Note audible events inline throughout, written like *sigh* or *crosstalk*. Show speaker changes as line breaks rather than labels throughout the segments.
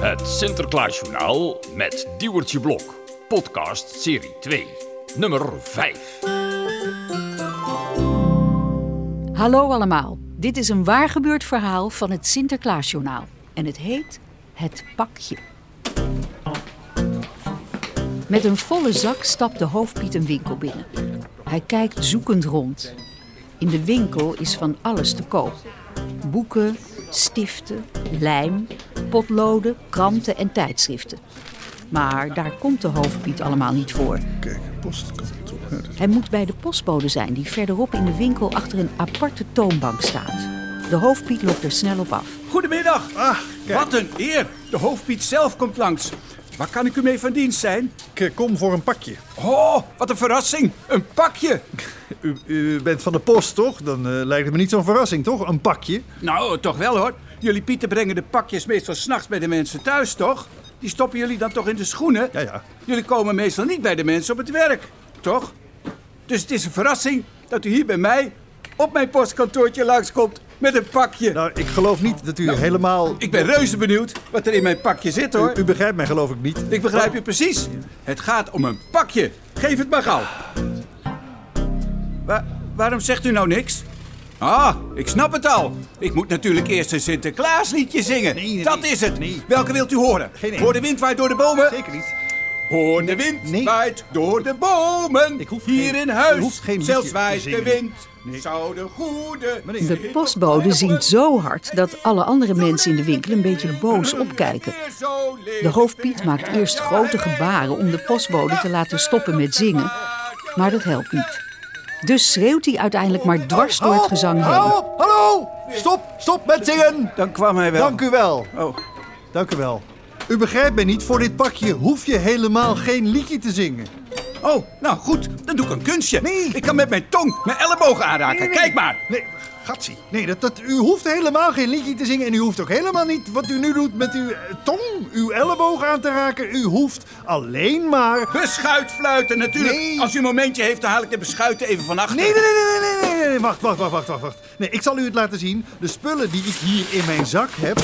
Het Sinterklaasjournaal met Diewertje Blok. Podcast serie 2, nummer 5.
Hallo allemaal, dit is een waargebeurd verhaal van het Sinterklaasjournaal. En het heet Het Pakje. Met een volle zak stapt de hoofdpiet een winkel binnen. Hij kijkt zoekend rond. In de winkel is van alles te koop. Boeken, stiften, lijm, potloden, kranten en tijdschriften. Maar daar komt de hoofdpiet allemaal niet voor.
Kijk, postkantoor. Ja, dat-
Hij moet bij de postbode zijn die verderop in de winkel achter een aparte toonbank staat. De hoofdpiet loopt er snel op af.
Goedemiddag.
Ah, kijk.
Wat een eer. De hoofdpiet zelf komt langs. Waar kan ik u mee van dienst zijn?
Ik eh, kom voor een pakje.
Oh, wat een verrassing. Een pakje.
U, u bent van de post, toch? Dan eh, lijkt het me niet zo'n verrassing, toch? Een pakje.
Nou, toch wel hoor. Jullie pieten brengen de pakjes meestal s'nachts bij de mensen thuis, toch? Die stoppen jullie dan toch in de schoenen?
Ja, ja.
Jullie komen meestal niet bij de mensen op het werk, toch? Dus het is een verrassing dat u hier bij mij op mijn postkantoortje langskomt met een pakje.
Nou, ik geloof niet dat u helemaal...
Ik ben reuze benieuwd wat er in mijn pakje zit, hoor.
U, u begrijpt mij geloof ik niet.
Ik begrijp je precies. Het gaat om een pakje. Geef het maar gauw. Wa- waarom zegt u nou niks? Ah, ik snap het al. Ik moet natuurlijk eerst een Sinterklaasliedje zingen.
nee,
Dat
nee.
is het.
Nee.
Welke wilt u horen?
Geen één.
Hoor de wind waait door de bomen.
Zeker niet.
Hoor de wind
Nee.
waait door de bomen.
Ik hoef
Hier
geen-
in
ik
huis.
hoef geen liedje
Zelfs
te
waait de
zingen.
wind.
Nee.
Zou de goede.
Meneer.
De postbode zingt zo hard dat alle andere mensen in de winkel een beetje boos opkijken. De hoofdpiet maakt eerst grote gebaren om de postbode te laten stoppen met zingen, maar dat helpt niet. Dus schreeuwt hij uiteindelijk maar dwars door het gezang
Hou
heen.
op! Hallo! Stop! Stop met zingen!
Dan kwam hij wel.
Dank u wel.
Oh.
Dank u wel. U begrijpt mij niet. Voor dit pakje hoef je helemaal geen liedje te zingen.
Oh, nou goed, dan doe ik een kunstje.
Nee.
Ik kan met mijn tong mijn ellebogen aanraken.
Nee, nee, nee.
Kijk maar.
Nee, gatsie. Nee, dat, dat, u hoeft helemaal geen liedje te zingen. En u hoeft ook helemaal niet wat u nu doet met uw eh, tong, uw elleboog aan te raken. U hoeft alleen maar...
Beschuitfluiten natuurlijk.
Nee.
Als u een momentje heeft, dan haal ik de beschuiten even van achter.
Nee, nee, nee, nee, nee, nee, nee, nee. Wacht, wacht, wacht, wacht, wacht, wacht. Nee, ik zal u het laten zien. De spullen die ik hier in mijn zak heb,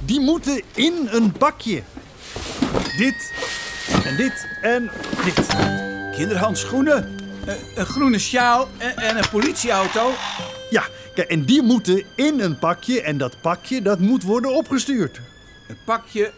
die moeten in een bakje. Dit en dit en dit.
Kinderhandschoenen, een, een groene sjaal en, en een politieauto.
Ja, kijk, en die moeten in een pakje. En dat pakje, dat moet worden opgestuurd.
Een pakje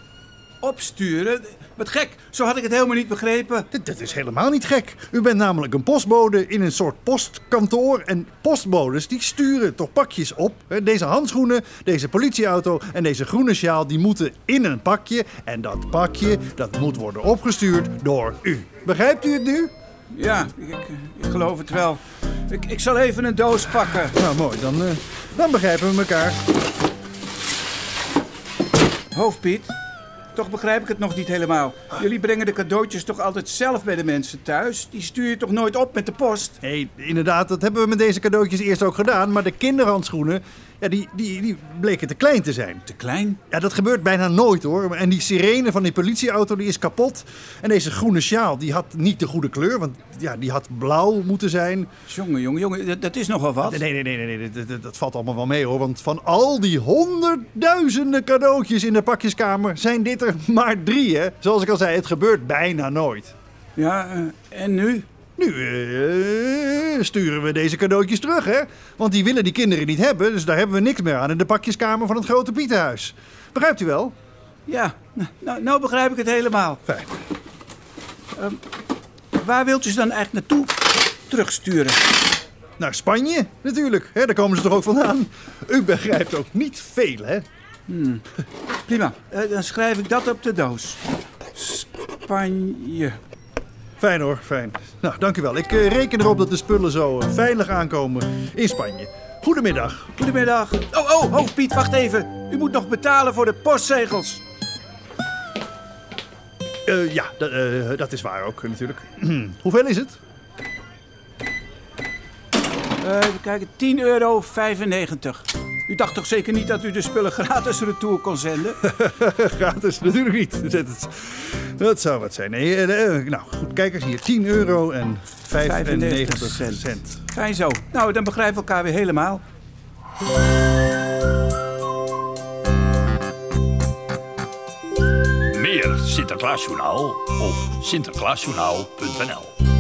opsturen. Wat gek, zo had ik het helemaal niet begrepen.
Dat, dat is helemaal niet gek. U bent namelijk een postbode in een soort postkantoor. En postbodes die sturen toch pakjes op. Hè, Deze handschoenen, deze politieauto en deze groene sjaal... die moeten in een pakje. En dat pakje, dat moet worden opgestuurd door u. Begrijpt u het nu?
Ja, ik, ik- ik geloof het wel. Ik, ik zal even een doos pakken.
Nou, mooi. Dan, eh, dan begrijpen we elkaar.
Hoofdpiet, toch begrijp ik het nog niet helemaal. Jullie brengen de cadeautjes toch altijd zelf bij de mensen thuis? Die stuur je toch nooit op met de post?
Nee, inderdaad, dat hebben we met deze cadeautjes eerst ook gedaan. Maar de kinderhandschoenen, ja, die, die, die bleken te klein te zijn.
Te klein?
Ja, dat gebeurt bijna nooit hoor. En die sirene van die politieauto die is kapot. En deze groene sjaal die had niet de goede kleur, want ja, die had blauw moeten zijn.
Jongen, jongen, jongen, dat, dat is nogal wat.
Ah, Nee, nee, nee, nee, nee dat, dat- dat valt allemaal wel mee hoor. Want van al die honderdduizenden cadeautjes in de pakjeskamer zijn dit er *laughs* maar drie hè. Zoals ik al zei, het gebeurt bijna nooit.
Ja, eh, en nu?
Nu eh, sturen we deze cadeautjes terug, hè? Want die willen die kinderen niet hebben, dus daar hebben we niks meer aan in de pakjeskamer van het grote Pietenhuis. Begrijpt u wel?
Ja, n- nou, nou begrijp ik het helemaal.
Fijn.
Waar wilt u ze dan eigenlijk naartoe terugsturen?
Naar Spanje, natuurlijk. Hè, daar komen ze toch ook vandaan. U begrijpt ook niet veel, hè?
Prima, eh, dan schrijf ik dat op de doos. Spanje.
Fijn hoor, fijn. Nou, dank u wel. Ik eh, reken erop dat de spullen zo eh, veilig aankomen in Spanje. Goedemiddag.
Goedemiddag. Oh, oh, hoofdpiet, wacht even. U moet nog betalen voor de postzegels.
Eh, ja, dat, eh, dat is waar ook, natuurlijk. *clears throat* Hoeveel is het? *laughs*
Eh we kijken, 10,95 euro. U dacht toch zeker niet dat u de spullen *laughs* gratis retour kon zenden?
*laughs* Gratis, natuurlijk niet. *laughs* Dat, dat- dat zou wat zijn. Nee, eh, eh, nou, goed, kijk eens hier. 10 euro en 95
95
cent.
cent. Fijn zo. Nou, dan begrijpen we elkaar weer helemaal.
meer Sinterklaasjournaal op sinterklaasjournaal.nl